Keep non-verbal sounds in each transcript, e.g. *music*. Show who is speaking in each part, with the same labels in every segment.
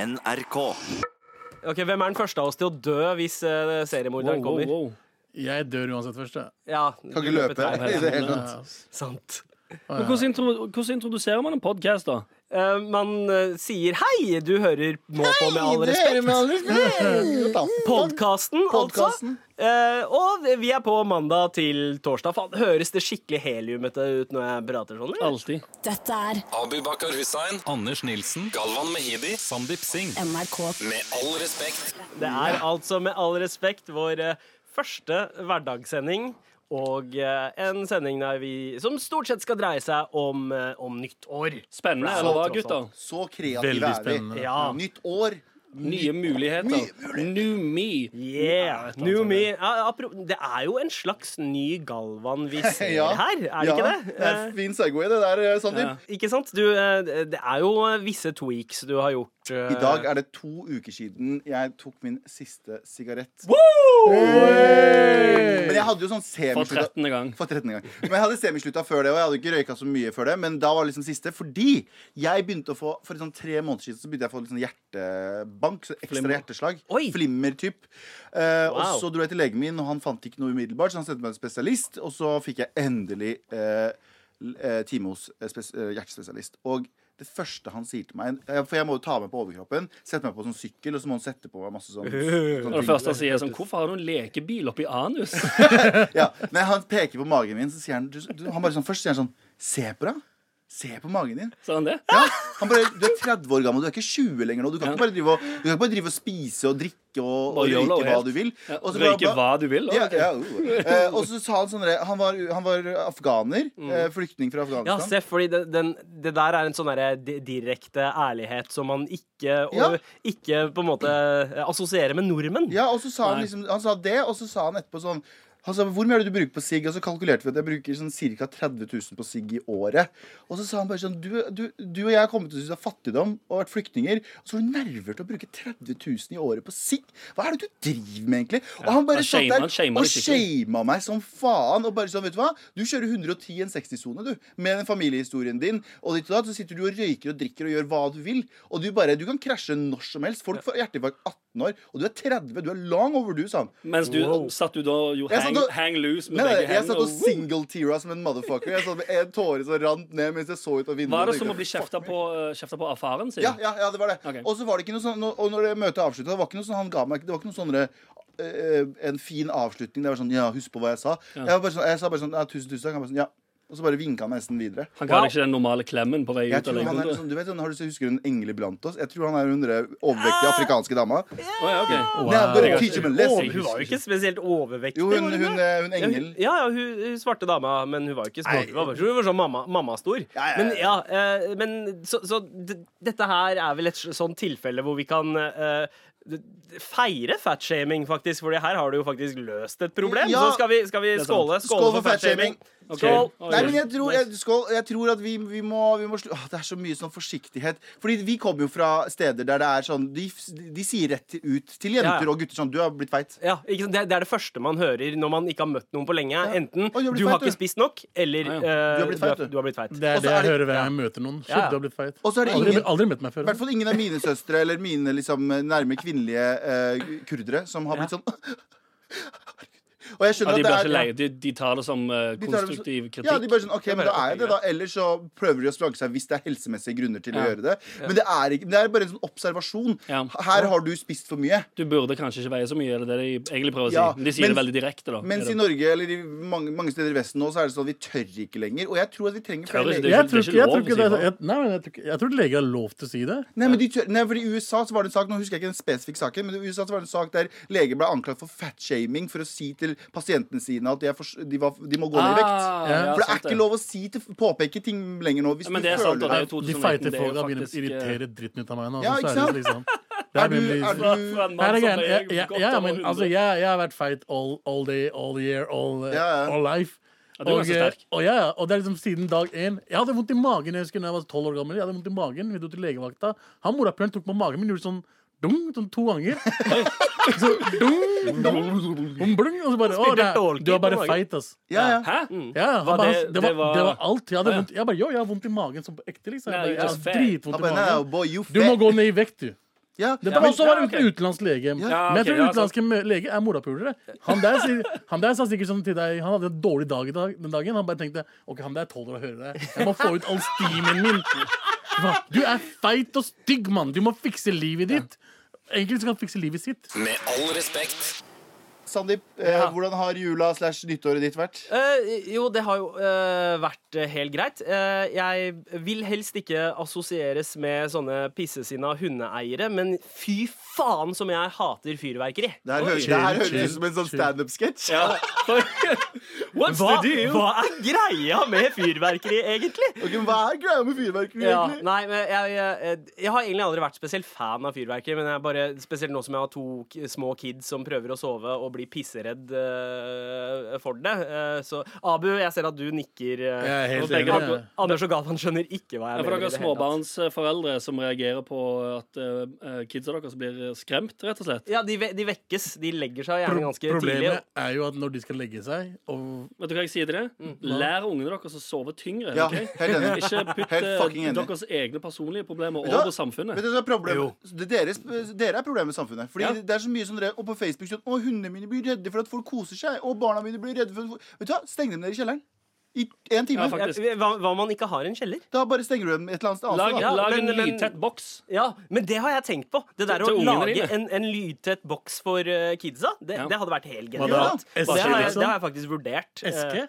Speaker 1: NRK.
Speaker 2: Ok, Hvem er den første av oss til å dø hvis eh, seriemorderen kommer?
Speaker 3: Jeg dør uansett først, jeg.
Speaker 2: Ja,
Speaker 4: Kan
Speaker 2: du
Speaker 4: ikke
Speaker 2: løper
Speaker 4: løpe
Speaker 2: trær.
Speaker 4: i det hele tatt.
Speaker 3: Ja, ass.
Speaker 2: Sant.
Speaker 3: Å,
Speaker 5: Men
Speaker 3: ja.
Speaker 5: hvordan, intro, hvordan introduserer man en podkast, da?
Speaker 2: Eh, man eh, sier 'hei, du hører nå på med all
Speaker 4: Dere
Speaker 2: respekt'.
Speaker 4: med all
Speaker 2: *laughs*
Speaker 4: respekt.
Speaker 2: Podkasten, altså.
Speaker 4: Podcasten.
Speaker 2: Eh, og vi er på mandag til torsdag. Faen, høres det skikkelig heliumete ut når jeg prater sånn? eller?
Speaker 5: Alltid.
Speaker 6: Dette er
Speaker 7: Abubakar Hussein,
Speaker 8: Anders Nilsen,
Speaker 7: Galvan Mehidi,
Speaker 8: Sandeep Singh.
Speaker 6: NRK.
Speaker 7: med all respekt.
Speaker 2: Det er altså med all respekt vår eh, første hverdagssending. Og eh, en sending der vi, som stort sett skal dreie seg om, eh, om nyttår.
Speaker 5: Spennende,
Speaker 2: Bra,
Speaker 5: eller
Speaker 4: altså.
Speaker 5: hva,
Speaker 2: tross
Speaker 5: gutter?
Speaker 2: alt.
Speaker 4: Så kreative
Speaker 3: Veldig
Speaker 4: er vi.
Speaker 3: spennende.
Speaker 2: Ja.
Speaker 4: Nytt år.
Speaker 5: Nye muligheter. New me.
Speaker 2: Yeah, new me. Ja, apro- det er jo en slags ny Galvan
Speaker 4: *laughs*
Speaker 2: vi ser
Speaker 4: Ja.
Speaker 2: her, er det
Speaker 4: Ja,
Speaker 2: ikke det?
Speaker 4: Det er en fin segway, det der, Sandeep.
Speaker 2: Eh, ikke sant? Du, eh, det er jo visse tweaks du har gjort. eh,
Speaker 4: I dag er det to uker siden jeg tok min siste sigarett. Men jeg hadde jo sånn
Speaker 5: For
Speaker 4: semislutta
Speaker 5: 13. gang.
Speaker 4: For 13. gang. Men jeg hadde semislutta før det, og jeg hadde ikke røyka så mye før det. Men da var det liksom siste, fordi jeg begynte å få For sånn tre måneder siden så begynte jeg å få litt sånn hjertebank. Så ekstra hjerteslag.
Speaker 2: Oi.
Speaker 4: Flimmer-typ. Eh,
Speaker 2: Wow.
Speaker 4: Og så dro jeg til legen min, og han fant ikke noe umiddelbart, så han sendte meg til spesialist, og så fikk jeg endelig eh, l- eh, time hos eh, spes eh, hjertespesialist. Og det første han sier til meg eh, For jeg må jo ta meg på overkroppen, sette meg på sånn sykkel, og så må han sette på meg masse
Speaker 5: *laughs*
Speaker 4: sånn, sånn
Speaker 5: Og det første han sier, er sånn Hvorfor har du en lekebil oppi anus? *laughs*
Speaker 4: ja. Når han peker på magen min, så sier han du, du, Han bare sånn, Først sier han sånn Se på deg. Se på magen din.
Speaker 5: Sa han det?
Speaker 4: Ja, han bare, Du er 30 år gammel, du er ikke 20 lenger nå. Du kan ikke bare drive og, du kan ikke bare drive og spise og drikke og,
Speaker 5: Bare
Speaker 4: og
Speaker 5: YOLO
Speaker 4: røyke hva
Speaker 5: helt.
Speaker 4: du vil.
Speaker 5: Ja,
Speaker 4: Og så bare-
Speaker 5: Røyke hva du vil? da.
Speaker 4: ja, ja, uh. Eh, Og så sa han sånn der, han, var- han var afghaner.
Speaker 5: Mm.
Speaker 4: eh, Flyktning fra
Speaker 2: Ja,
Speaker 4: Afghanistan.
Speaker 2: se, fordi det, den, det der er en sånn derre di- direkte ærlighet som man ikke, og,
Speaker 4: Ja.
Speaker 2: ikke på en måte eh, assosierer med nordmenn.
Speaker 4: Ja, og så sa han liksom Han sa det, og så sa han etterpå sånn han sa, hvor mye er det du bruker på sigg? Og så kalkulerte vi at jeg bruker sånn ca. 30 000 på sigg i året. Og så sa han bare sånn Du, du, du og jeg har kommet til å synes av fattigdom og vært flyktninger. Og så har du nerver til å bruke 30 000 i året på sigg? Hva er det du driver med, egentlig? Og han
Speaker 5: han
Speaker 4: bare satt
Speaker 5: shamer- han shamer
Speaker 4: der og
Speaker 5: det skikkelig.
Speaker 4: shama meg som faen. Og bare sånn, vet du hva? Du kjører 110 i en 60-sone, du. Med den familiehistorien din. Og ditt og datt. Så sitter du og røyker og drikker og gjør hva du vil. Og du bare Du kan krasje når som helst. Folk får hjerteinfarkt 18 år, og du er 30. Du er long overdue, sa han.
Speaker 5: Mens du
Speaker 2: Wow.
Speaker 5: satt du da og gjorde
Speaker 4: Jeg satt
Speaker 5: hang,
Speaker 4: og-
Speaker 5: hang loose med
Speaker 4: Nei, nei,
Speaker 5: begge
Speaker 4: jeg satt
Speaker 5: hendene.
Speaker 4: og single-teara som en motherfucker. Jeg satt med en tåre som rant ned mens jeg så ut av vinduet.
Speaker 5: Var det
Speaker 4: og
Speaker 5: som
Speaker 4: tenkte,
Speaker 5: å bli kjefta på, eh, kjefta på av faren sin?
Speaker 4: Ja, ja, ja, det var det.
Speaker 5: Ok.
Speaker 4: Og så var det ikke noe sånn Og når det møtet avslutta, det var ikke noe sånn han ga meg Det var ikke noe sånn eh, eh, En fin avslutning. Det var sånn Ja, husk på hva jeg sa. Jeg, var bare sånn, jeg sa bare sånn Ja, tusen, tusen takk. Han bare sånn Ja. Og så bare vinka han nesten videre.
Speaker 5: Han ga deg ikke den normale klemmen på vei
Speaker 4: Jeg
Speaker 5: ut av
Speaker 4: tror han er
Speaker 5: legekontoret?
Speaker 4: liksom, du vet, sånn, har du sett, Husker du en engel iblant oss? Jeg tror han er hun der overvektige afrikanske dama.
Speaker 5: Å, ja, ok.
Speaker 3: Wow.
Speaker 4: Never
Speaker 5: Jeg har-
Speaker 4: sånn- teach him a
Speaker 2: Og
Speaker 4: lesson.
Speaker 2: hun var jo ikke spesielt overvektig.
Speaker 4: Jo, hun,
Speaker 2: var
Speaker 4: hun, hun,
Speaker 2: det?
Speaker 4: eh, hun
Speaker 2: Ja,
Speaker 4: engel.
Speaker 2: hun- ja, ja hun, hun svarte dama, men hun var jo ikke språklig. Hun var bare- Hun var sånn mamma, mammastor.
Speaker 4: ja, ja.
Speaker 2: Men ja, eh, men så, så d- dette her er vel et s- sånn tilfelle hvor vi kan eh, d- d- feire fatshaming, faktisk. Fordi her har du jo faktisk løst et problem.
Speaker 4: Ja.
Speaker 2: Så skal vi, skal vi
Speaker 5: er sant.
Speaker 2: skåle, skåle,
Speaker 4: Skål for
Speaker 2: for fatshaming.
Speaker 4: fatshaming.
Speaker 5: Ok.
Speaker 2: Skål.
Speaker 5: Oi.
Speaker 4: Nei, men jeg tror, jeg, skål, jeg tror at vi, vi må, vi må slu, Åh, Det er så mye sånn forsiktighet. Fordi vi kommer jo fra steder der det er sånn De, de sier rett ut til jenter
Speaker 2: Ja, ja.
Speaker 4: og gutter sånn Du har blitt feit.
Speaker 2: Ja, ikke sant? Det, er- det er det første man hører når man ikke har møtt noen på lenge. Enten
Speaker 4: Oi, du har blitt
Speaker 2: du har
Speaker 4: feit,
Speaker 2: ikke spist nok, eller
Speaker 5: Ja, ja.
Speaker 2: eh,
Speaker 4: Du har blitt feit,
Speaker 2: du, er-
Speaker 4: du.
Speaker 2: du har blitt feit.
Speaker 3: Det
Speaker 4: Og så
Speaker 3: er det
Speaker 4: er
Speaker 3: jeg
Speaker 4: det-
Speaker 3: hører hver gang jeg møter noen. Shit,
Speaker 2: Ja, ja.
Speaker 3: du har blitt feit.
Speaker 4: Og så er det
Speaker 3: Aldri,
Speaker 4: ingen-
Speaker 3: aldri møtt meg
Speaker 4: I
Speaker 3: før.
Speaker 4: hvert fall ingen av mine søstre eller mine liksom, nærme kvinnelige eh, kurdere som har blitt sånn *laughs* Og jeg
Speaker 5: Ja,
Speaker 4: skjønner
Speaker 5: de blir
Speaker 4: at
Speaker 5: ikke
Speaker 4: det
Speaker 5: lei.
Speaker 4: er
Speaker 5: De, de tar det som eh,
Speaker 4: tar det som-
Speaker 5: konstruktiv kritikk.
Speaker 4: ja, de bare sånn, ok, men da er jeg det da
Speaker 5: greit.
Speaker 4: Eller så prøver de å slanke seg hvis det er helsemessige grunner til å
Speaker 5: Ja.
Speaker 4: gjøre det. Men det er, ikke, det er bare en sånn observasjon.
Speaker 5: Ja.
Speaker 4: Her har du spist for mye.
Speaker 5: Du burde kanskje ikke veie så mye, er det det de egentlig prøver å si?
Speaker 4: Ja,
Speaker 5: Men de sier det
Speaker 4: mens-
Speaker 5: veldig direkte, da.
Speaker 4: Mens i
Speaker 5: Er det-
Speaker 4: Norge eller i mange, mange steder i Vesten nå, så er det sånn at vi tør ikke lenger. Og jeg tror at vi trenger
Speaker 5: Tør
Speaker 4: flere
Speaker 5: ikke,
Speaker 4: leger.
Speaker 5: det
Speaker 3: Jeg
Speaker 5: det er
Speaker 3: tror ikke, jeg tror
Speaker 5: lov å si
Speaker 3: ikke det er
Speaker 5: fra.
Speaker 3: jeg, Nei, men jeg tror, ikke- jeg tror ikke leger har lov til å si det.
Speaker 4: Nei, men de tør, nei, for I USA så var det en sak nå husker jeg ikke den spesifikke saken, men i USA så var det en sak der leger ble anklaget for fatshaming for å si til pasientene sine at de, er for, de, var, de må gå ned i vekt.
Speaker 5: Ah,
Speaker 3: Ja.
Speaker 5: ja,
Speaker 4: for det
Speaker 5: sant
Speaker 4: er ikke lov å si til, påpeke ting lenger nå. Hvis
Speaker 5: Ja, men
Speaker 4: du
Speaker 5: det er sant, og det
Speaker 4: føler
Speaker 5: er
Speaker 4: deg
Speaker 5: jo
Speaker 3: De
Speaker 5: 2019.
Speaker 3: feite
Speaker 5: det er jo
Speaker 3: folka begynner å
Speaker 5: faktisk, eh,
Speaker 3: irritere dritten ut av meg nå.
Speaker 4: Ja,
Speaker 3: så
Speaker 4: ikke
Speaker 3: er det liksom, det
Speaker 4: Er
Speaker 3: er
Speaker 4: du,
Speaker 3: min bli-
Speaker 4: er du,
Speaker 5: for en
Speaker 3: Her
Speaker 5: mann
Speaker 3: er
Speaker 5: som
Speaker 3: greien.
Speaker 5: veier
Speaker 3: Jeg, jeg,
Speaker 5: godt
Speaker 3: ja,
Speaker 5: over
Speaker 3: men
Speaker 5: 100.
Speaker 3: altså, jeg, jeg har vært feit all, all day, all year, all, eh,
Speaker 4: Ja, ja.
Speaker 3: all life.
Speaker 5: Ja, du er
Speaker 3: Og,
Speaker 5: ganske
Speaker 3: eh,
Speaker 5: sterk.
Speaker 3: og, ja, ja, og det er liksom siden dag én. Jeg hadde vondt i magen jeg husker når jeg var 12 år gammel. Jeg hadde vondt i magen, Vi dro til legevakta. Han morapuleren tok på magen min gjorde sånn dung sånn to ganger. *laughs* så dung, dung, dung, dung, og så bare Å,
Speaker 2: spilte
Speaker 3: det er,
Speaker 2: dolky
Speaker 3: du er bare
Speaker 2: på magen.
Speaker 3: feit, ass.
Speaker 4: ja, ja.
Speaker 5: Hæ? Mm.
Speaker 3: Ja, han
Speaker 5: Var
Speaker 3: bare,
Speaker 5: det-
Speaker 3: det, var,
Speaker 5: det var-
Speaker 3: det var alt. Jeg hadde
Speaker 5: Ja.
Speaker 3: vondt, jeg bare, jo, jeg har vondt i magen som på ekte, liksom.
Speaker 5: Nei,
Speaker 3: Jeg, bare,
Speaker 5: just
Speaker 3: jeg har
Speaker 5: fat.
Speaker 3: dritvondt
Speaker 4: Han
Speaker 3: i
Speaker 4: bare,
Speaker 3: magen.
Speaker 4: nei, boy, you
Speaker 3: Du må
Speaker 4: fat.
Speaker 3: gå ned i vekt, du.
Speaker 4: Ja,
Speaker 3: Dette var også
Speaker 5: Ja,
Speaker 3: var en
Speaker 5: ok.
Speaker 3: utenlandsk lege.
Speaker 5: Ja,
Speaker 3: Men jeg
Speaker 5: ok,
Speaker 3: tror
Speaker 5: ja, altså-
Speaker 3: utenlandske me- lege er morapulere. Han, der sier- *laughs* han der sa sikkert sånn til deg Han hadde en dårlig dag i dag, den dagen. Han bare tenkte OK, han der tåler å høre det. Jeg må få ut all steamen min. Hva? Du er feit og stygg, mann. Du må fikse livet ditt. Egentlig så kan han fikse livet sitt.
Speaker 7: Med all respekt.
Speaker 4: Sandeep, eh,
Speaker 2: Ja.
Speaker 4: hvordan har jula slash nyttåret ditt vært?
Speaker 2: Eh, jo, det har jo eh, vært eh, helt greit. Eh, jeg vil helst ikke assosieres med sånne pissesinna hundeeiere, men fy faen som jeg hater fyrverkeri!
Speaker 4: Det her høres
Speaker 3: chill,
Speaker 4: det her høres
Speaker 3: chill,
Speaker 4: ut som en sånn
Speaker 3: chill.
Speaker 4: standup-sketsj.
Speaker 5: Ja. What's
Speaker 2: Hva,
Speaker 5: the deal?
Speaker 2: hva er greia med fyrverkeri, egentlig?
Speaker 4: Ok, men hva er greia med fyrverkeri?
Speaker 2: Ja,
Speaker 4: egentlig?
Speaker 2: nei, men jeg, jeg, jeg har egentlig aldri vært spesielt fan av fyrverkeri, men jeg bare, spesielt nå som jeg har to k- små kids som prøver å sove og blir pisseredd eh, for det. eh, så Abu, jeg ser at du nikker. eh.
Speaker 3: Jeg er helt
Speaker 2: Og begge
Speaker 3: enig.
Speaker 2: dere- Anders og Galvan skjønner ikke hva
Speaker 5: Ja,
Speaker 2: jeg
Speaker 5: for dere
Speaker 2: i det hele tatt.
Speaker 5: småbarnsforeldre som reagerer på at eh, kidsa deres blir skremt, rett og slett.
Speaker 2: Ja, de, ve de vekkes. De legger seg gjerne
Speaker 3: Pro
Speaker 2: ganske tidlig.
Speaker 3: problemet er jo at når de skal legge seg og
Speaker 5: Vet du hva jeg sier til det? Lær ungene deres å sove tyngre.
Speaker 4: Ja,
Speaker 5: ok?
Speaker 4: helt
Speaker 5: *laughs*
Speaker 4: enig.
Speaker 5: Ikke putt
Speaker 4: Helt
Speaker 5: eh,
Speaker 4: fucking enig.
Speaker 5: deres egne personlige problemer
Speaker 4: du hva?
Speaker 5: over på samfunnet.
Speaker 4: Vet du hva som er problemet? Det er Deres, dere er problemet med samfunnet. Fordi
Speaker 5: Ja.
Speaker 4: det er så mye sånn Og på Facebook sånn Å, hundene mine blir redde for at folk koser seg. Og barna mine blir redde for at folk Vet du hva? Steng dem ned i kjelleren. I én time.
Speaker 5: Ja, faktisk.
Speaker 2: Ja, hva, hva om man ikke har en kjeller?
Speaker 4: da bare stenger du dem et eller annet sted.
Speaker 5: Lag,
Speaker 4: Altså,
Speaker 2: Ja,
Speaker 5: lag
Speaker 2: men-
Speaker 5: en
Speaker 2: men-
Speaker 5: lydtett boks.
Speaker 2: Ja, men det har jeg tenkt på. Det der
Speaker 5: Til- til
Speaker 2: å
Speaker 5: ungene
Speaker 2: lage
Speaker 5: dine.
Speaker 2: en, en lydtett boks for eh, kidsa, det,
Speaker 5: Ja.
Speaker 2: det hadde vært helt
Speaker 3: Hva
Speaker 4: da?
Speaker 2: genialt.
Speaker 3: da?
Speaker 2: Og Det har, jeg,
Speaker 3: Eske,
Speaker 2: det har
Speaker 3: liksom?
Speaker 2: jeg faktisk vurdert. Eh,
Speaker 3: Eske?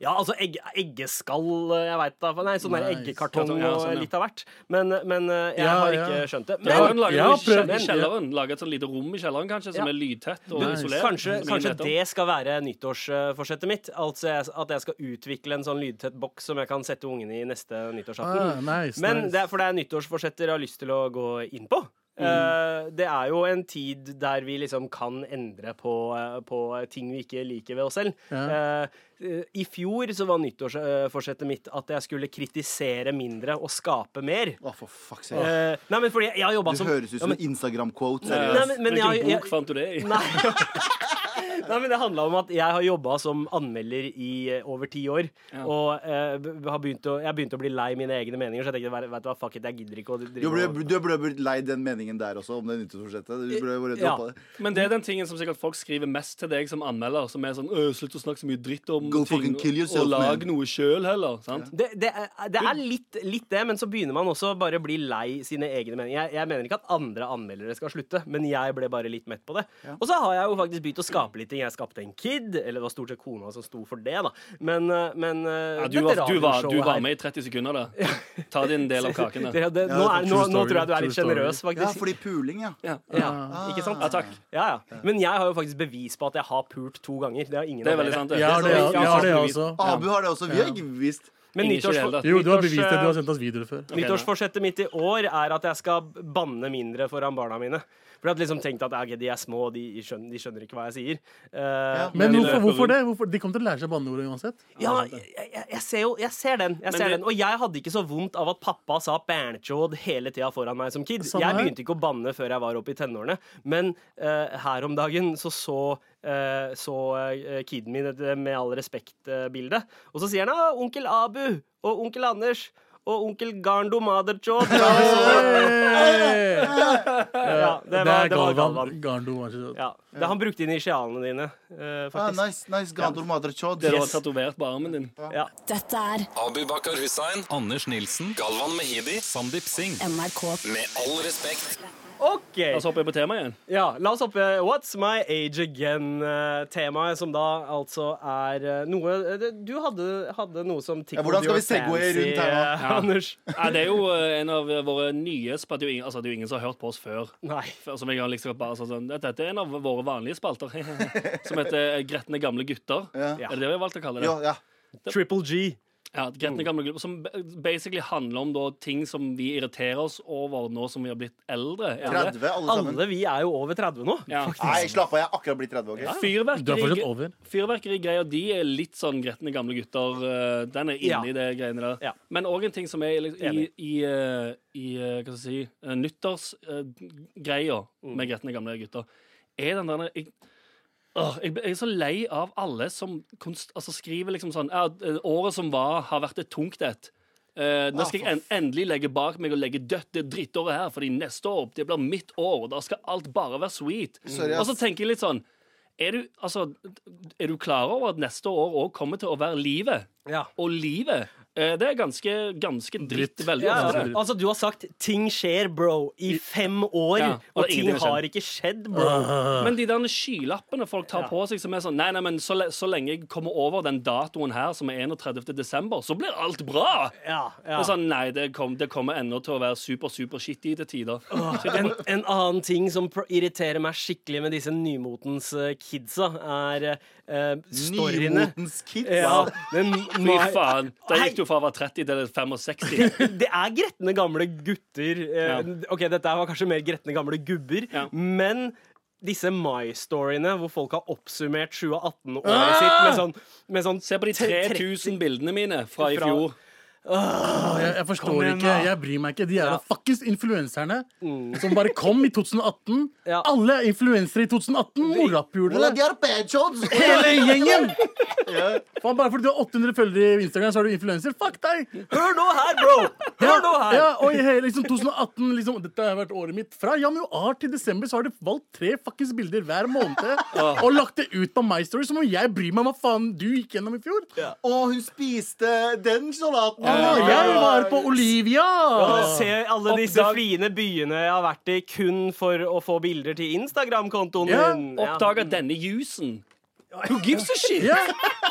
Speaker 2: Ja, altså egg, eggeskall, eh, jeg veit da. Nei, sånn der
Speaker 3: Nice.
Speaker 2: eggekartong
Speaker 5: Ja,
Speaker 2: og
Speaker 5: sånn, ja.
Speaker 2: litt av hvert. Men, men eh, jeg
Speaker 3: Ja,
Speaker 2: har
Speaker 3: ja.
Speaker 2: ikke skjønt det.
Speaker 5: Ja,
Speaker 2: Men
Speaker 5: lage
Speaker 3: jeg har
Speaker 5: noe i kjell-
Speaker 3: prøvd-
Speaker 5: i kjelleren. Lage et sånn lite rom i kjelleren kanskje som
Speaker 2: Ja.
Speaker 5: er lydtett og
Speaker 3: Du,
Speaker 5: isolert.
Speaker 2: Kanskje,
Speaker 5: som ingen
Speaker 2: kanskje
Speaker 5: vet om.
Speaker 2: det skal være nyttårsforsettet mitt. Altså jeg- at jeg skal utvikle en sånn lydtett boks som jeg kan sette ungene i neste nyttårsaften.
Speaker 3: Ah, nice,
Speaker 2: Men
Speaker 3: nice. Mm.
Speaker 2: det er, for det er nyttårsforsetter jeg har lyst til å gå inn på. Eh, det er jo en tid der vi liksom kan endre på, eh, på ting vi ikke liker ved oss selv.
Speaker 3: Ja.
Speaker 2: Eh, I fjor så var nyttårsforsettet mitt at jeg skulle kritisere mindre og skape mer.
Speaker 4: Å, for fuck's sake.
Speaker 2: Eh, nei, men fordi jeg, jeg har jobba
Speaker 4: Du
Speaker 2: som
Speaker 4: høres ut
Speaker 2: Ja,
Speaker 4: som
Speaker 2: men-
Speaker 4: en Instagram-quote.
Speaker 5: Eh,
Speaker 2: Nei, men- men
Speaker 5: Hvilken
Speaker 2: jeg- jeg-
Speaker 5: bok fant du det i?
Speaker 2: Nei. Nei, men Det handla om at jeg har jobba som anmelder i eh, over ti år.
Speaker 5: Ja.
Speaker 2: Og eh, b- har begynt å, jeg begynte å bli lei mine egne meninger, så jeg tenkte vet du hva, fuck it, jeg gidder ikke å drive
Speaker 4: Du ble,
Speaker 2: og-
Speaker 4: du ble blitt lei den meningen der også, om det nyttårsforsettet. Du ble bare
Speaker 2: Ja.
Speaker 4: droppet det.
Speaker 5: Men det er den tingen som sikkert folk skriver mest til deg som anmelder. Som er sånn «Øh, 'Slutt å snakke så mye dritt om
Speaker 4: Go
Speaker 5: ting,
Speaker 4: fucking kill yourself,
Speaker 5: og lag
Speaker 4: man.»
Speaker 5: noe sjøl heller'. sant?
Speaker 2: det, det, er- det er litt, litt det, men så begynner man også bare å bli lei sine egne meninger. Jeg, jeg mener ikke at andre anmeldere skal slutte, men jeg ble bare litt mett på det. Og så har jeg jo faktisk begynt å skape litt ting. Jeg skapte en kid, eller det var stort sett kona som sto for det, da. Men, eh, men eh,
Speaker 5: Ja, du,
Speaker 2: dette
Speaker 5: var, du, var, du
Speaker 2: radioshowet
Speaker 5: var
Speaker 2: her-
Speaker 5: med i 30 sekunder, da. Ta din del av
Speaker 2: *laughs*
Speaker 5: kaken. da.
Speaker 2: Det, det, nå, er, nå, nå
Speaker 3: true story,
Speaker 2: tror jeg du er
Speaker 3: true
Speaker 2: litt sjenerøs,
Speaker 3: story.
Speaker 2: faktisk.
Speaker 4: Ja, fordi puling, ja.
Speaker 5: Ja.
Speaker 2: Ja, ikke sant?
Speaker 5: Ja, takk.
Speaker 2: Ja, ja. Men jeg har jo faktisk bevis på at jeg har pult to ganger. Det har ingen
Speaker 5: Det er
Speaker 2: av
Speaker 5: veldig
Speaker 2: dere.
Speaker 5: sant. altså.
Speaker 3: Jeg har det, jeg har det
Speaker 5: Sannsynligvis.
Speaker 3: også.
Speaker 4: Abu har det også. Vi har ikke bevist.
Speaker 2: Men
Speaker 5: Ingen
Speaker 2: nyttårs-
Speaker 5: skjell, da.
Speaker 3: Jo, du har
Speaker 2: nyttårs-
Speaker 3: bevist
Speaker 5: eh,
Speaker 3: at du har sendt oss videoer før.
Speaker 5: Ok,
Speaker 2: Nyttårsforsettet mitt i år er at jeg skal banne mindre foran barna mine. For jeg hadde liksom tenkt at ok, de er små, de skjønner, de skjønner ikke hva jeg sier. Eh,
Speaker 3: Men
Speaker 5: Men-
Speaker 3: hvorfor, hvorfor det? Hvorfor? De kommer til å lære seg banneordet uansett.
Speaker 2: ja, jeg, jeg, jeg ser jo jeg ser den. Jeg ser
Speaker 5: det-
Speaker 2: den. Og jeg hadde ikke så vondt av at pappa sa bernchod hele tida foran meg som kid.
Speaker 3: Samme
Speaker 2: jeg
Speaker 3: her.
Speaker 2: begynte ikke å banne før jeg var oppe i tenårene. Men eh, her om dagen så så eh, så eh, kiden min et eh, Med all respekt-bilde. og så sier han ah, 'onkel Abu' og 'onkel Anders' og 'onkel Garndo Maderchod'.
Speaker 3: Hey!
Speaker 2: ja, det var, det var Galvan.
Speaker 3: Garndo, vær så god.
Speaker 2: Ja, det, han brukte initialene dine, eh,
Speaker 4: Ah,
Speaker 2: faktisk.
Speaker 4: nice, nice. Gandor Madra Chod.
Speaker 5: Det du har
Speaker 2: Yes.
Speaker 5: tatovert på armen din.
Speaker 2: ja.
Speaker 1: Dette er
Speaker 7: Abu Bakar Hussein.
Speaker 6: Anders Nilsen.
Speaker 7: Galvan Mehidi. Sandeep Singh.
Speaker 1: NRK.
Speaker 7: Med all respekt.
Speaker 2: OK!
Speaker 5: La oss hoppe på temaet igjen.
Speaker 2: Ja, la oss hoppe What's my age again-temaet, som da altså er eh, noe eh, det- Du hadde, hadde noe som tickled
Speaker 4: hvordan skal
Speaker 2: your
Speaker 4: vi segway
Speaker 2: fancy,
Speaker 4: rundt her nå?
Speaker 2: eh, Anders. *laughs*
Speaker 5: Ja, det er jo eh, en av våre nye spalter. Det er jo ingen- Altså, det er jo ingen som har hørt på oss før.
Speaker 2: Nei.
Speaker 5: Før Som jeg har liksom bare sagt sånn, Dette er en av våre vanlige spalter *laughs* som heter eh, Gretne gamle gutter.
Speaker 4: Ja.
Speaker 5: Er det det vi har valgt å kalle det?
Speaker 4: Jo, ja.
Speaker 2: Triple G.
Speaker 5: Ja,
Speaker 3: Mm.
Speaker 5: Gretne gamle gutter, Som ba- basically handler om da ting som vi irriterer oss over nå som vi har blitt eldre. Er det?
Speaker 4: 30, alle sammen.
Speaker 2: Alle vi er jo over 30 nå.
Speaker 5: Ja.
Speaker 4: Nei, slapp av. Jeg har akkurat blitt 30. ok?
Speaker 3: Du er fortsatt
Speaker 5: Fyrverkeri,
Speaker 3: over.
Speaker 5: fyrverkerigreier de er litt sånn gretne gamle gutter. eh, Den er inne
Speaker 2: Ja.
Speaker 5: i det greiene der.
Speaker 2: Ja.
Speaker 5: Men òg en ting som er i, i,
Speaker 2: Enig.
Speaker 5: i, eh, i eh, hva skal jeg si, eh, nyttårsgreia
Speaker 2: Mm.
Speaker 5: med gretne gamle gutter, er den der jeg, Åh, jeg, ble- jeg er så lei av alle som konst, altså skriver liksom sånn ja, eh, Året som var, har vært et tungt et. Eh, Eh,
Speaker 2: Ah,
Speaker 5: nå skal jeg en, endelig legge bak meg og legge dødt det drittåret her, fordi neste år det blir mitt år, og da skal alt bare være sweet.
Speaker 2: Mm.
Speaker 4: Sorry,
Speaker 5: og så
Speaker 4: ass.
Speaker 5: tenker jeg litt sånn er du, altså, er du klar over at neste år òg kommer til å være livet?
Speaker 2: Ja.
Speaker 5: Og livet, eh, det er ganske, ganske dritt.
Speaker 3: Dritt.
Speaker 5: Veldig
Speaker 2: Ja,
Speaker 5: ofte.
Speaker 2: ja. altså Du har sagt 'ting skjer, bro' i fem år,
Speaker 5: Ja, og
Speaker 2: og
Speaker 5: det er
Speaker 2: ting
Speaker 5: ingenting som
Speaker 2: har ikke skjedd, bro.
Speaker 5: Men de der skylappene folk tar på seg, som er sånn Nei, nei, men så, le så lenge jeg kommer over den datoen her, som er 31. desember, så blir alt bra!
Speaker 2: Ja,
Speaker 5: Det
Speaker 2: ja.
Speaker 5: er sånn, Nei, det, kom, det kommer ennå til å være super, super shitty til tider.
Speaker 2: En, en annen ting som pr- irriterer meg skikkelig med disse nymotens eh, kidsa, er eh, storyene.
Speaker 4: Nymotens kids.
Speaker 2: Ja, men
Speaker 5: Fy
Speaker 2: my-
Speaker 5: faen. Da
Speaker 2: Hei.
Speaker 5: gikk du fra å være 30 til 65.
Speaker 2: det er gretne gamle gutter. Eh,
Speaker 5: Ja.
Speaker 2: Ok, Dette var kanskje mer gretne gamle gubber,
Speaker 5: Ja.
Speaker 2: men disse My-storyene hvor folk har oppsummert 2018-året sitt med sånn, med sånn
Speaker 5: Ah! Se på de 3000 bildene mine fra i
Speaker 2: Fra-
Speaker 5: fjor.
Speaker 3: Å, jeg, jeg forstår ikke. Jeg bryr meg ikke. De jævla fuckings influenserne som bare kom i 2018.
Speaker 2: Mm. Ja.
Speaker 3: Alle er influensere i 2018! Morapulere!
Speaker 4: Hola, de har badjobs!
Speaker 3: Hele gjengen! Faen, bare fordi du har 800 følgere i Instagram, så er du influenser? Fuck deg!
Speaker 2: Hør nå her, bro! Hør nå her!
Speaker 3: Ja, og i hele liksom 2018 liksom, Dette har vært året mitt. Fra januar til desember så har de valgt tre fuckings bilder hver måned og lagt det ut på My Story, som om jeg bryr meg om hva faen du gikk gjennom i fjor.
Speaker 4: Og hun spiste den salaten.
Speaker 3: Å, jeg var på Olivia!
Speaker 2: Se alle disse
Speaker 5: Oppdag-
Speaker 2: fine byene jeg har vært i kun for å få bilder til Instagram-kontoen
Speaker 3: Ja,
Speaker 2: min. Ja.
Speaker 5: Oppdaga denne jusen. Who gives a shit?
Speaker 3: Ja.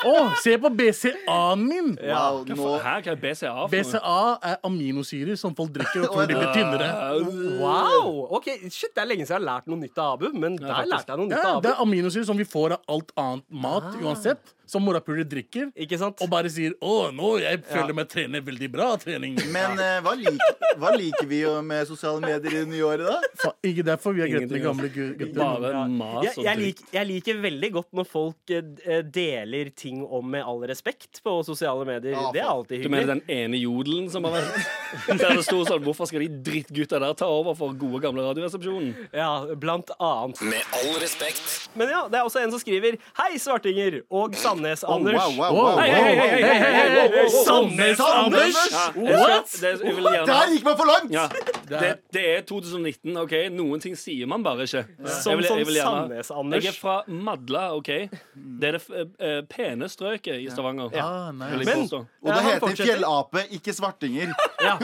Speaker 3: Å, se på BCA-en min!
Speaker 4: Wow, nå
Speaker 5: Her kan jeg BCA for noe.
Speaker 3: BCA er aminosyrer som folk drikker og tror de blir tynnere.
Speaker 2: Wow! Ok, shit, Det er lenge siden jeg har lært noe nytt av Abu, men der
Speaker 5: faktisk.
Speaker 2: lærte jeg noe nytt
Speaker 3: Ja,
Speaker 2: av
Speaker 3: det
Speaker 2: Abu.
Speaker 3: er aminosyrer som vi får av alt annet mat
Speaker 5: Ah.
Speaker 3: uansett, som morapuler drikker.
Speaker 2: Ikke sant?
Speaker 3: Og bare sier 'Å, nå jeg føler meg trener veldig bra trening'.
Speaker 4: Men eh, hva, liker, hva liker vi jo med sosiale medier i det nye året, da?
Speaker 3: Faen, ikke derfor vi er gretne
Speaker 5: Ingenting,
Speaker 3: gamle gu- gutter.
Speaker 5: Bare mas
Speaker 2: Jeg,
Speaker 5: og
Speaker 2: jeg,
Speaker 5: dritt.
Speaker 2: lik, jeg liker veldig godt når folk eh, d- eh, deler ting om med all respekt på sosiale medier.
Speaker 4: Ja,
Speaker 2: det er alltid
Speaker 5: Du mener
Speaker 2: hyggelig.
Speaker 5: den ene jodelen som har vært Der det sto sånn Hvorfor skal de drittgutta der ta over for gode, gamle Radioresepsjonen?
Speaker 2: Ja, blant annet.
Speaker 7: Med all respekt.
Speaker 2: Men ja, det er også en som skriver Hei, Svartinger og
Speaker 4: *laughs*
Speaker 2: Sandnes Anders.
Speaker 4: Oh, wow, wow, wow,
Speaker 3: Wow,
Speaker 5: Hei, hei, hei, hei, hei, hei, hei, hei.
Speaker 2: Sandnes Anders!
Speaker 5: Ja, jeg skal- det- jeg vil gjerne-
Speaker 4: Der gikk man for langt!
Speaker 5: Ja, det, det er 2019, OK? Noen ting sier man bare ikke.
Speaker 2: Som, som
Speaker 5: gjerne-
Speaker 2: Sandnes-Anders.
Speaker 5: Jeg er fra Madla, OK? Det er det f- eh, pene strøket i Stavanger.
Speaker 3: Ah, nei.
Speaker 5: Vil jeg
Speaker 2: Men-
Speaker 5: påstå.
Speaker 4: Og det
Speaker 2: Ja, han
Speaker 4: heter
Speaker 2: fortsetter.
Speaker 4: fjellape, ikke svartinger.
Speaker 2: Ja.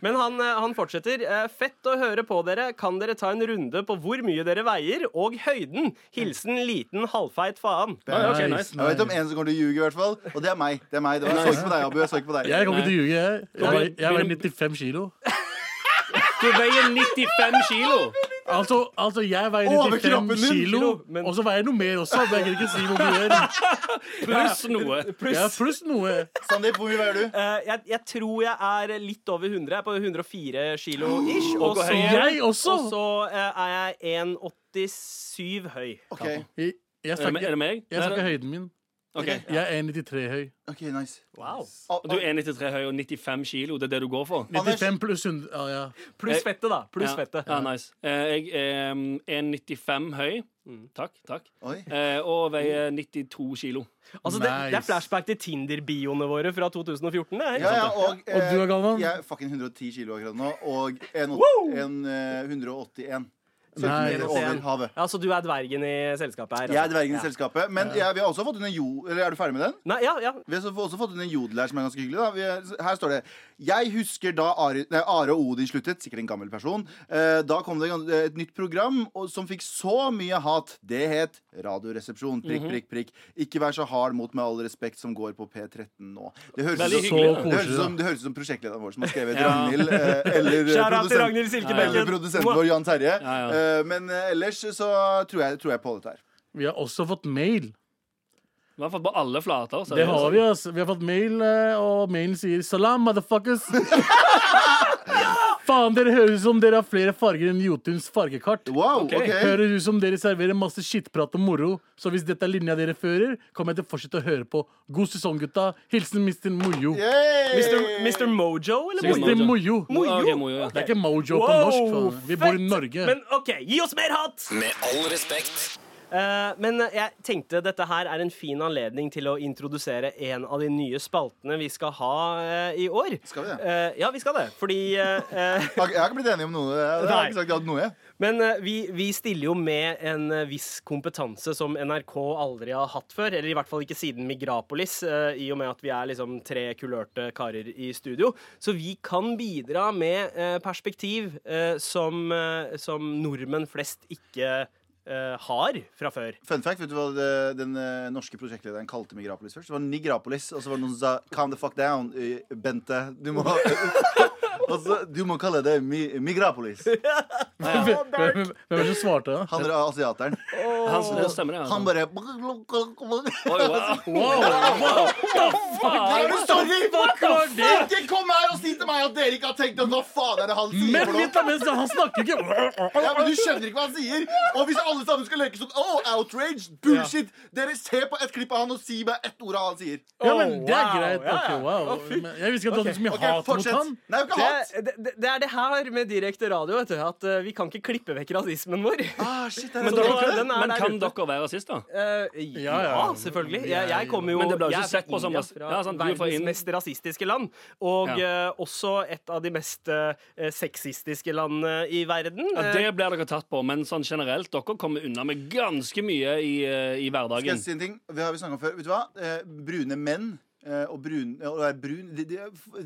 Speaker 2: Men han, eh, han fortsetter. Eh, Fett å høre på dere. Kan dere ta en runde på hvor mye dere veier, og høyden? Hilsen liten halvfeit faen.
Speaker 5: Ah, ja, ok, nice.
Speaker 4: Jeg vet om en som kommer til å ljuge, i hvert fall. Og det er meg. det er meg Det var, Jeg så ikke på deg, Abu. Jeg så ikke på deg.
Speaker 3: Jeg kommer ikke til å ljuge. jeg. Jeg veier- Jeg veier
Speaker 5: Begynner-
Speaker 3: 95 kilo.
Speaker 5: Du veier 95 kilo!
Speaker 3: Altså, altså jeg veier
Speaker 4: Over
Speaker 3: 95
Speaker 4: kroppen din,
Speaker 3: kilo,
Speaker 2: kilo, men-
Speaker 3: og så veier jeg noe mer også. Men jeg kan ikke si hvor mye.
Speaker 5: Pluss noe.
Speaker 3: Ja, pluss noe.
Speaker 4: Sandeep, hvor mye veier du?
Speaker 2: Eh, jeg, jeg tror jeg er litt over 100. Jeg er på 104 kilo
Speaker 5: *gasps*
Speaker 2: ish. Og
Speaker 5: hvor
Speaker 2: så,
Speaker 5: høy
Speaker 3: er jeg også?
Speaker 2: og så eh, er jeg 1,87 høy.
Speaker 4: OK,
Speaker 3: Jeg, jeg
Speaker 5: Er det me- Eh, er det
Speaker 3: snakker,
Speaker 5: meg?
Speaker 3: jeg snakker
Speaker 5: Nei,
Speaker 3: høyden min.
Speaker 5: ok.
Speaker 3: Jeg er 1,93 høy.
Speaker 4: ok, nice
Speaker 2: Wow.
Speaker 4: Ah,
Speaker 5: Du er 1,93 høy og 95 kilo. Det er det du går for?
Speaker 3: 95 pluss 100 ah, ja.
Speaker 2: Pluss fettet, da. Pluss
Speaker 5: Eh, Ja.
Speaker 2: fettet.
Speaker 5: Ja, nice. Eh, Jeg er mm, 1,95 høy. Takk. takk
Speaker 4: Oi.
Speaker 5: Eh, Og veier 92 kilo.
Speaker 2: Altså, det, det er
Speaker 3: Nice.
Speaker 2: flashback til Tinder-bioene våre fra 2014. Det,
Speaker 4: Ja, ja, og, eh,
Speaker 3: du da, Galvan?
Speaker 4: Jeg er fucking 110 kilo akkurat nå, og en, en, eh, 181 centimeter
Speaker 3: Nice.
Speaker 4: over havet.
Speaker 2: ja, Så du er dvergen i selskapet her?
Speaker 4: Jeg er
Speaker 2: altså.
Speaker 4: dvergen i selskapet, men jeg, vi har også fått inn en jo... Eller er du ferdig med den?
Speaker 2: Nei, ja, ja.
Speaker 4: Vi har så- også fått inn en jodel her som er ganske hyggelig. Da. Vi er, her står det Jeg husker da Are, nei, Are og Odin sluttet, sikkert en gammel person. Eh, da kom det gans- eh, et nytt program og, som fikk så mye hat. Det het Radioresepsjon. Prikk, prikk, prikk. Ikke vær så hard mot Med all respekt som går på P13 nå. Det høres
Speaker 5: Veldig
Speaker 4: ut som,
Speaker 5: hyggelig,
Speaker 3: da.
Speaker 4: det høres ut som, det høres ut som prosjektlederen vår som har skrevet Ragnhild.
Speaker 2: *laughs*
Speaker 4: Eh, eller, eh,
Speaker 2: Shout out til
Speaker 4: produsent-
Speaker 2: Ragnhild Silkebekken.
Speaker 4: eller produsenten vår Jan Terje.
Speaker 5: Ja,
Speaker 4: Eh, men eh, ellers så tror jeg, tror jeg på dette her.
Speaker 3: Vi har også fått mail.
Speaker 5: Vi har fått på alle flater. så
Speaker 3: Det har vi, ass. Vi har fått mail, eh, og mailen sier 'salam, motherfuckers'. Faen, dere høres ut som dere har flere farger enn Jotuns fargekart.
Speaker 4: Wow,
Speaker 5: Ok.
Speaker 4: ok
Speaker 3: Høres ut som dere serverer masse skittprat og moro, så hvis dette er linja dere fører, kommer jeg til å fortsette å høre på. God sesong, gutta. Hilsen Mr. Mojo.
Speaker 4: Yay!
Speaker 2: Mr. Mr. Mojo, eller?
Speaker 5: Sikkert
Speaker 2: Mr.
Speaker 3: Mr.
Speaker 5: Mojo.
Speaker 3: Mojo.
Speaker 5: Mojo. Ok, Mojo, ja.
Speaker 2: Ok.
Speaker 3: Det er ikke Mojo på
Speaker 2: Wow,
Speaker 3: norsk. Faen. Vi bor i
Speaker 2: fett!
Speaker 3: Norge.
Speaker 2: Men OK, gi oss mer hat!
Speaker 7: Med all respekt.
Speaker 2: Eh, Men jeg tenkte dette her er en fin anledning til å introdusere en av de nye spaltene vi skal ha eh, i år.
Speaker 4: Skal vi det?
Speaker 2: Eh, Ja, vi skal det. Fordi eh, eh,
Speaker 4: Jeg har ikke blitt enig om noe. Jeg har ikke sagt ja til noe. jeg.
Speaker 2: Men eh, vi, vi stiller jo med en eh, viss kompetanse som NRK aldri har hatt før. Eller i hvert fall ikke siden Migrapolis, eh, i og med at vi er liksom tre kulørte karer i studio. Så vi kan bidra med eh, perspektiv eh, som, eh, som nordmenn flest ikke eh, har fra før.
Speaker 4: Fun fact, vet du hva det, den eh, norske prosjektlederen kalte Migrapolis først? Det var Nigrapolis, og så var det noen som sa Calm the fuck down, eh, Bente. Du må, *laughs* Og så, du må kalle det mi, Migrapolis.
Speaker 3: Hvem hvem- hvem er det som svarte? da?
Speaker 4: Han er asiateren.
Speaker 5: Han, det stemmer, det.
Speaker 2: sånn.
Speaker 4: Han
Speaker 5: Altså.
Speaker 4: bare *laughs*
Speaker 5: Oi, wow.
Speaker 4: Er du sorry? Ikke kom her og si til meg at dere ikke har tenkt at hva faen er det han sier
Speaker 3: Men
Speaker 4: for noe?
Speaker 3: litt av mens han snakker ikke
Speaker 4: Ja, men Du skjønner ikke hva han sier. Og hvis alle sammen skal leke sånn oh, outrage, bullshit Dere ser på et klipp av han og si meg ett ord av hva han sier.
Speaker 3: Ja, men det er
Speaker 2: Wow,
Speaker 3: greit.
Speaker 2: ja,
Speaker 3: Ok,
Speaker 2: ja.
Speaker 3: wow. Men Jeg visste ikke at du hadde så mye
Speaker 4: Ok,
Speaker 3: hat mot
Speaker 4: fortsett.
Speaker 3: han.
Speaker 4: Nei, det er jo ikke hat.
Speaker 2: Det, det, det er det her med direkte radio, vet du. At eh, vi kan ikke klippe vekk rasismen vår. *laughs*
Speaker 4: Ah, shit, det er
Speaker 2: Men
Speaker 4: sånn.
Speaker 2: dere- den er
Speaker 5: Men
Speaker 2: der
Speaker 5: kan
Speaker 2: ute.
Speaker 5: dere være rasister?
Speaker 2: Eh, ja,
Speaker 3: Ja, ja.
Speaker 2: selvfølgelig. Jeg, jeg kommer jo
Speaker 5: Men det ble jo
Speaker 2: jeg
Speaker 5: ikke
Speaker 2: er fra
Speaker 5: sett på som
Speaker 2: India,
Speaker 5: ras-
Speaker 2: fra
Speaker 5: Ja, sant, du er
Speaker 2: verdens
Speaker 5: fra Ind-
Speaker 2: mest rasistiske land. Og
Speaker 5: Ja.
Speaker 2: eh, også et av de mest eh, sexistiske landene i verden.
Speaker 5: Ja,
Speaker 2: Eh,
Speaker 5: det blir dere tatt på, men sånn generelt, dere kommer unna med ganske mye i, eh, i
Speaker 4: Skal jeg
Speaker 5: hverdagen.
Speaker 4: si en ting? Det har vi snakket om før. Vet du hva? Eh, brune menn eh, og brun, og er brun de, de,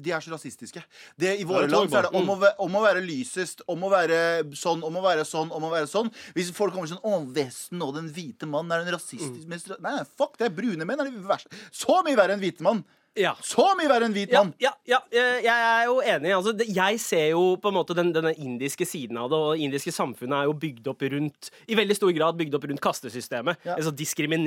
Speaker 4: de er så rasistiske. Det, I
Speaker 5: Ja,
Speaker 4: våre
Speaker 5: det tror jeg
Speaker 4: land så er
Speaker 5: på.
Speaker 4: det om å, væ- om å være lysest, om å være sånn, om å være sånn, om å være sånn. Hvis folk kommer sånn Å, Vesten og den hvite mannen er den rasistisk mest ra-" Nei, nei, fuck det. Brune menn er de verste. Så mye verre enn hvite mann.
Speaker 2: Eh, ja.
Speaker 4: Så mye verre enn hvit
Speaker 2: Ja,
Speaker 4: mann.
Speaker 2: ja, ja, eh, jeg er jo enig. Altså, det- jeg ser jo på en måte den, denne indiske siden av det, og det indiske samfunnet er jo bygd opp rundt i veldig stor grad bygd opp rundt kastesystemet.
Speaker 4: Ja.
Speaker 2: Altså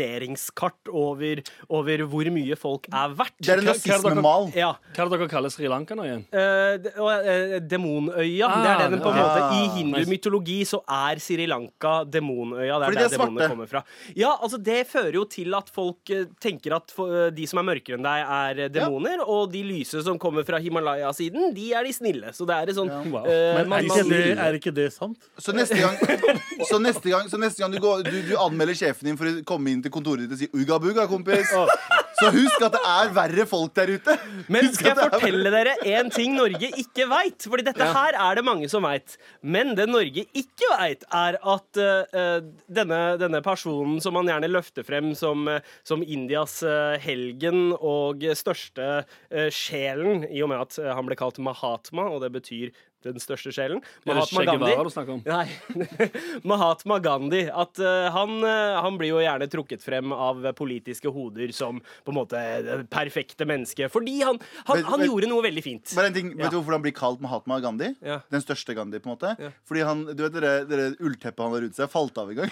Speaker 2: diskrimineringskart over, over hvor mye folk er verdt.
Speaker 4: Det er en
Speaker 5: Hva- hva er det dere-
Speaker 4: rasismemal.
Speaker 2: Ja,
Speaker 5: Hva er det dere kaller Sri Lanka nå igjen?
Speaker 2: Eh, det- og, eh, Demonøya.
Speaker 5: Ah,
Speaker 2: det er det den på en
Speaker 5: ok.
Speaker 2: måte I
Speaker 4: Ah,
Speaker 2: hindu-mytologi så er Sri Lanka demonøya. Det er
Speaker 4: Fordi de
Speaker 2: der
Speaker 4: er
Speaker 2: demonene
Speaker 4: svarte.
Speaker 2: kommer fra. Ja, altså Det fører jo til at folk eh, tenker at for, eh, de som er mørkere enn deg, er eh, demoner. Og de lyse som kommer fra Himalaya-siden, de er de snille. Så det er et sånn
Speaker 5: Wow.
Speaker 2: eh,
Speaker 3: Men
Speaker 2: man-
Speaker 3: er ikke
Speaker 2: man-
Speaker 3: det, er ikke det sant?
Speaker 4: Så neste gang, så neste gang, så neste gang du, går, du, du anmelder sjefen din for å komme inn til kontoret ditt og si 'ugga bugga, kompis', så husk at det er verre folk der ute.
Speaker 2: Men
Speaker 4: Husk
Speaker 2: skal jeg
Speaker 4: at det er-
Speaker 2: fortelle dere en ting Norge ikke veit? Fordi dette her er det mange som veit. Men det Norge ikke veit, er at eh, denne, denne personen som man gjerne løfter frem som, eh, som Indias eh, helgen og største eh, sjelen, i og med at eh, han ble kalt Mahatma, og det betyr den største sjelen
Speaker 5: Er det Che Guevara du snakker om?
Speaker 2: Nei. *laughs* Mahatma Gandhi. At eh, han, eh, han blir jo gjerne trukket frem av politiske hoder som på en måte det perfekte mennesket. Fordi han, han,
Speaker 4: Men-
Speaker 2: han
Speaker 4: men-
Speaker 2: gjorde noe veldig fint.
Speaker 4: Bare en ting, Vet
Speaker 2: Ja.
Speaker 4: du hvorfor han blir kalt Mahatma Gandhi?
Speaker 2: Ja.
Speaker 4: Den største Gandhi, på en måte.
Speaker 2: Ja.
Speaker 4: Fordi han, du vet dere, dere ullteppet han var rundt seg, falt av en gang.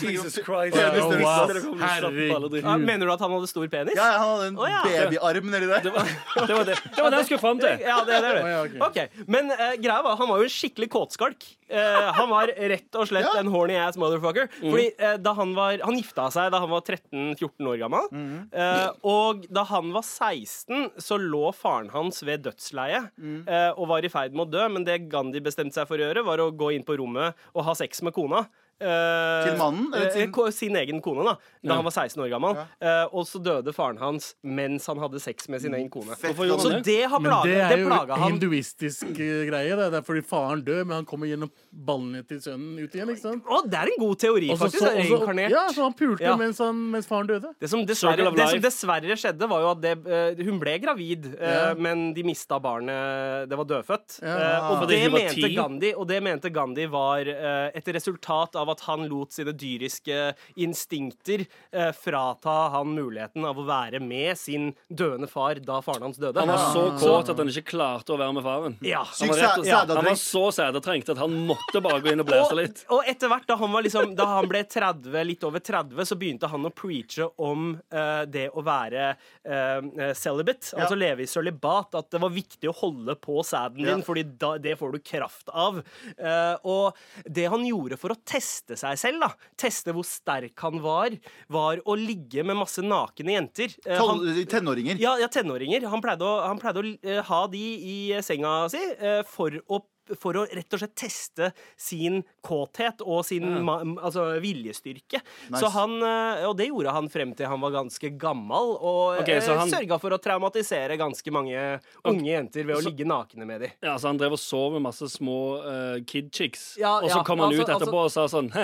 Speaker 4: Jesus
Speaker 5: Christ.
Speaker 4: Ja, det
Speaker 2: Oh,
Speaker 4: stemmer.
Speaker 3: wow.
Speaker 5: Dere kommer til å slappe på alle dritt.
Speaker 2: Ja, mener du at han hadde stor penis?
Speaker 4: Ja, han hadde en
Speaker 2: Å, ja.
Speaker 4: babyarm nedi der.
Speaker 5: Det var det, var det. det, var det jeg skulle fram til.
Speaker 2: Ja, det, det er det.
Speaker 3: Å, ja,
Speaker 2: Ok, Men eh, greia var, han var jo en skikkelig kåtskalk. Eh, han var rett og slett
Speaker 4: Ja.
Speaker 2: en horny ass motherfucker.
Speaker 5: Mm.
Speaker 2: Fordi eh, da han var Han gifta seg da han var 13-14 år gammel.
Speaker 4: Mm.
Speaker 2: Eh, og da han var 16, så lå faren hans ved dødsleiet
Speaker 4: Mm.
Speaker 2: eh, og var i ferd med å dø. Men det Gandhi bestemte seg for å gjøre, var å gå inn på rommet og ha sex med kona. Eh,
Speaker 4: Til mannen, eller
Speaker 2: eh,
Speaker 4: til-
Speaker 2: ko- sin egen kone, da. Da han var 16 år gammel. Eh, og så døde faren hans mens han hadde sex med sin egen kone.
Speaker 4: Fett,
Speaker 5: Mm. Hvorfor gjorde
Speaker 4: Gandhi.
Speaker 2: Så
Speaker 5: det?
Speaker 2: det har
Speaker 3: Men
Speaker 2: plaga,
Speaker 3: det
Speaker 2: det
Speaker 3: er jo
Speaker 2: plaga han.
Speaker 3: hinduistisk eh, greie. Det er derfor de faren dør, men han kommer gjennom ballene til sønnen ut igjen. ikke sant?
Speaker 2: Å, det er en god teori,
Speaker 3: Og så-
Speaker 2: faktisk. det
Speaker 3: så-
Speaker 2: er
Speaker 3: og så-
Speaker 2: reinkarnert.
Speaker 3: ja, så han pulte
Speaker 2: Ja.
Speaker 3: mens, han, mens faren døde.
Speaker 2: Det som,
Speaker 5: Circle
Speaker 2: dessverre,
Speaker 5: of
Speaker 2: det som
Speaker 5: life.
Speaker 2: dessverre skjedde, var jo at det, eh, hun ble gravid, eh,
Speaker 3: Ja.
Speaker 2: men de mista barnet Det var dødfødt.
Speaker 3: Ja.
Speaker 2: Eh, og,
Speaker 5: Fordi
Speaker 2: det
Speaker 5: hun var
Speaker 2: mente
Speaker 5: ti.
Speaker 2: Gandhi, og det mente Gandhi var eh, et resultat av at han lot sine dyriske instinkter eh, frata han muligheten av å være med sin døende far da faren hans døde.
Speaker 5: Han var så kåt at han ikke klarte å være med faren.
Speaker 2: ja.
Speaker 5: Han var, rett og,
Speaker 4: Syk Ah. sæ-
Speaker 5: ja,
Speaker 4: sædadrengt.
Speaker 5: han var så sædetrengt at han måtte bare gå inn og blæse litt.
Speaker 2: Og, og etter hvert, da han, var liksom, da han ble 30, litt over 30, så begynte han å preache om eh, det å være eh, celibate, altså leve i sølibat. At det var viktig å holde på sæden din,
Speaker 4: Ja.
Speaker 2: Fordi da, det får du kraft av. Eh, og det han gjorde for å teste seg selv, da, teste hvor sterk han var, var å ligge med masse nakne jenter. Eh, han-
Speaker 4: Tolv- Tenåringer.
Speaker 2: ja, ja, tenåringer. Han pleide å, han pleide å eh, ha de i eh, senga si eh, for å for å rett og slett teste sin kåthet og sin ma, altså, viljestyrke. Så han, eh, og det gjorde han frem til han var ganske gammel, og
Speaker 5: Ok, så
Speaker 2: eh,
Speaker 5: han-
Speaker 2: sørga for å traumatisere ganske mange unge jenter ved å ligge nakne med dem.
Speaker 5: Ja, så Han drev og sov med masse små eh, kid chicks,
Speaker 2: Ja,
Speaker 5: og så
Speaker 2: ja,
Speaker 5: kom han
Speaker 2: altså-
Speaker 5: ut etterpå og sa sånn *laughs*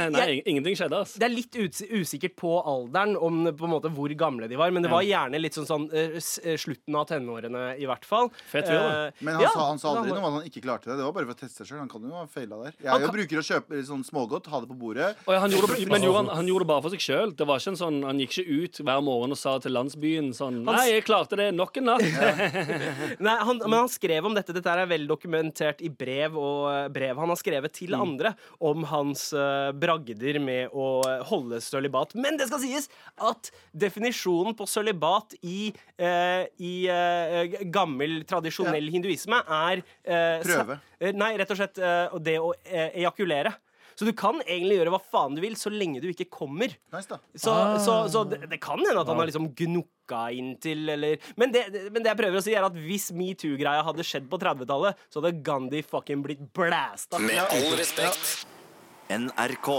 Speaker 2: Jeg-
Speaker 5: Nei, ingenting skjedde, ass.
Speaker 2: Det er litt uts- usikkert på alderen om på en måte hvor gamle de var, men det var gjerne litt sånn, sånn eh, s- eh, slutten av tenårene, i hvert fall.
Speaker 5: Fett fyr, da.
Speaker 2: Eh,
Speaker 4: Men han,
Speaker 2: ja,
Speaker 4: sa, han sa aldri
Speaker 2: var-
Speaker 4: noe om at han ikke klarte det. Det var bare for å teste seg sjøl. Han kan jo ha feila der. Jeg
Speaker 2: Han
Speaker 4: er jo
Speaker 2: kan-
Speaker 4: bruker å kjøpe litt sånn smågodt, ha det på bordet.
Speaker 5: Å ja, han gjorde det, men gjorde han, han gjorde det bare for seg sjøl. Sånn, han gikk ikke ut hver morgen og sa til landsbyen sånn
Speaker 2: Han s-
Speaker 5: Nei, jeg klarte det nok en natt.
Speaker 2: Nei, han, men han skrev om dette. Dette her er vel dokumentert i brev og eh, brev han har skrevet til andre om hans eh, bragder med å eh, holde sølibat. Men det skal sies at definisjonen på sølibat i, eh, i eh, g- gammel, tradisjonell hinduisme er eh, sa-
Speaker 4: Prøve.
Speaker 2: eh, Nei, rett og slett eh, det å eh, ejakulere. Så du kan egentlig gjøre hva faen du vil, så lenge du ikke kommer.
Speaker 4: Nice, da.
Speaker 2: Så, så, så det, det kan hende at han har liksom gnukka inntil, eller men det, det- men det jeg prøver å si, er at hvis metoo-greia hadde skjedd på 30-tallet, så hadde Gandhi fucking blitt blæsta.
Speaker 7: Med all respekt.
Speaker 1: NRK.